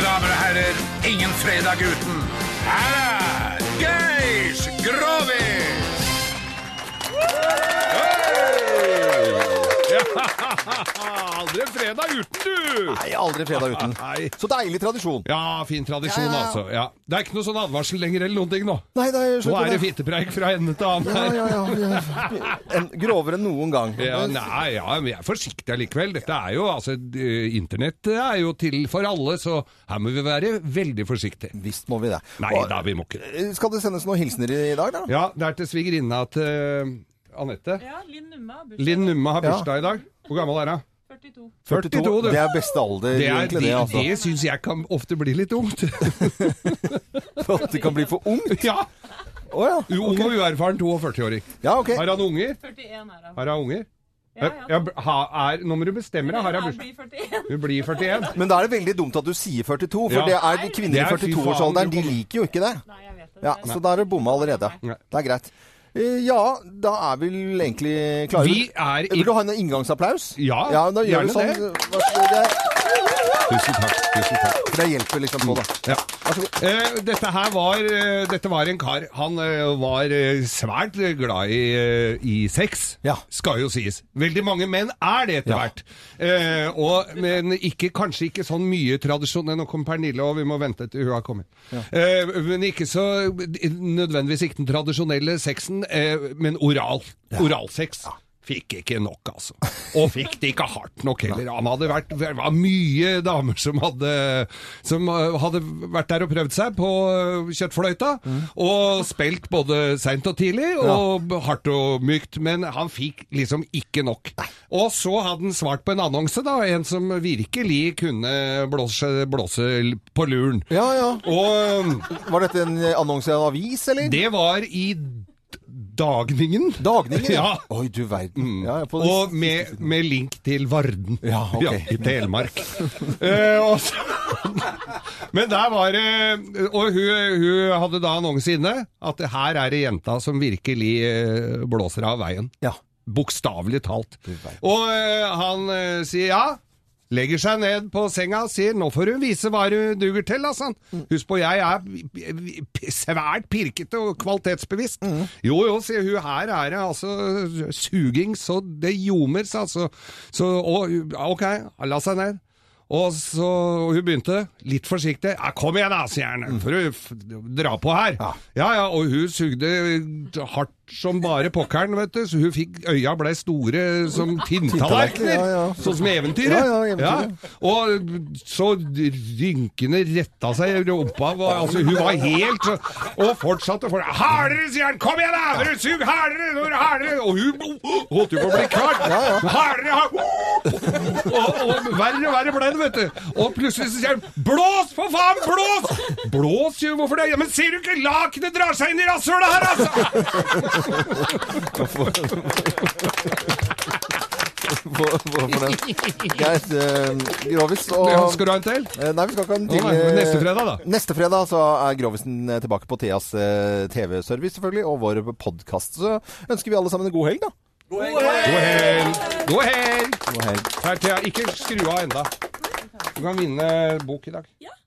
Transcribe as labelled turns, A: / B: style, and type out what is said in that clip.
A: hører Ingen fredag uten. Her er Geir Grovis!
B: Aldri fredag uten, du!
C: Nei, aldri fredag uten.
B: Nei.
C: Så deilig tradisjon.
B: Ja, fin tradisjon,
C: Ja, ja.
B: altså. Ja. Det er ikke noe sånn advarsel lenger eller noen ting nå.
C: Nei, det er
B: Nå
C: slutt
B: er det
C: med det.
B: fittepreik fra ende til annen
C: Ja,
B: her.
C: ja, ja, ja. En, grovere enn noen gang.
B: Ja, nei, ja, men jeg er forsiktig allikevel. Dette er jo, altså, eh, internett er jo til for alle, så her må vi være veldig forsiktige.
C: Visst må vi det.
B: Nei
C: Og-
B: da, vi må ikke.
C: Eh, Skal det sendes noen hilsener i dag, da?
B: Ja, det er til svigerinna til eh, Anette.
D: Ja, Linn Numme har bursdag.
B: Linn Numme har
C: Ja.
B: bursdag i dag. Hvor gammel er hun?
D: 42.
B: 42, du.
C: Det er beste alder,
B: Det, er,
C: egentlig,
B: det,
C: det. altså.
B: det syns jeg kan ofte bli litt ungt.
C: For at det kan bli for ungt.
B: ja,
C: Å ja.
B: Ung og uerfaren 42-åring.
C: Ja, ok.
B: Har han unger?
D: 41 er hun.
B: Har han unger?
D: Ja,
B: Ja, ha, er, nå må du bestemme deg. Har
D: Jeg
B: hun bursdag?
D: blir 41.
B: Hun blir 41.
C: Men da er det veldig dumt at du sier 42,
B: Ja.
C: for det er de kvinner
B: Det
C: i
B: er fy faen,
C: 42-årsalderen,
B: du
C: de
B: kommer-
C: liker jo ikke det.
D: Nei, jeg vet det.
C: Ja, Så da er det bomma allerede.
B: Nei.
C: Det er greit. Eh, Ja, da er vel egentlig klare.
B: Vi er i
C: Vil du ha en inngangsapplaus?
B: Ja,
C: da gjør vi
B: gjerne
C: sånn. Vær så god. Det-
B: Tusen takk. Tusen takk.
C: For det hjelper liksom på, da.
B: Ja.
C: Vær så god.
B: Eh, dette her var eh, Dette var en kar Han eh, var eh, svært glad i, eh, i sex
C: Ja.
B: Skal jo sies Veldig mange menn er det etter
C: Ja.
B: hvert eh, og, Men ikke, kanskje ikke sånn mye tradisjon Nå kom Pernille og vi må vente til hun har kommet eh, Men ikke så Nødvendigvis ikke den tradisjonelle sexen eh, Men oral Oralsex Fikk ikke nok, altså. Og fikk det ikke hardt nok heller. Han hadde vært, det var mye damer som hadde, som eh, hadde vært der og prøvd seg på eh, kjøttfløyta, og spilt både seint og tidlig, og hardt og mykt, men han fikk liksom ikke nok. Og så hadde han svart på en annonse, da, en som virkelig kunne blåse, blåse på luren.
C: Ja, ja.
B: Og
C: Var dette en eh, annonse i en avis, eller?
B: det var i Dagningen.
C: Dagningen?
B: Ja. Mm.
C: Oi, du verden. Ja, ja, på det-
B: Og med, med link til Varden
C: Ja, ok.
B: i Telemark. Eh, og så- men der var det Og hun, hun hadde da annonse inne at her er det jenta som virkelig eh, blåser av veien.
C: ja.
B: Bokstavelig talt.
C: verden.
B: Og eh, han eh, sier ja. Legger seg ned på senga og sier 'nå får hun vise hva hun duger til', altså. Husk på, jeg er p- p- svært pirkete og kvalitetsbevisst. Jo jo, sier hun, her er det altså suging så det ljomer, sa altså. Så og, ok, han la seg ned. Og så og hun begynte, litt forsiktig, ja, 'kom igjen da, sier
C: Mm.
B: han, for å f- dra på her'. Ja. ja og hun sugde hardt som bare pokkeren, vet du, så hun fikk, øya ble store som tinntallerkener,
C: Ja, ja.
B: sånn som eventyret.
C: Ja, ja,
B: Ja,
C: eventyret.
B: Og så rynkene retta seg i rumpa, var- altså hun var helt så Og fortsatte for Hardere, sier han! Kom igjen, da! Dere sug hardere! Dere hardere! Og hun holdt jo på å bli kvart. Hardere! hardere. Og, og verre og verre ble det, vet du. Og plutselig så sier han Blås, for faen! Blås! Blås, jo, hvorfor det? Ja, men ser du ikke lakenet drar seg inn i rasshølet her, altså!
C: Hvor- Hvorfor det? Greit. eh, Grovis og
B: Ja, Skal du ha en til?
C: Eh, Nei, vi skal ikke ha den
B: Å,
C: til.
B: nei, men
C: eh,
B: neste fredag, da.
C: Neste fredag så er Grovisen eh, tilbake på Theas eh, TV-service, selvfølgelig, og vår podkast. Så ønsker vi alle sammen en god helg, da.
B: God helg! God helg!
C: God helg.
B: Her, Thea, ikke skru av enda. Du kan vinne bok i dag.
D: Ja.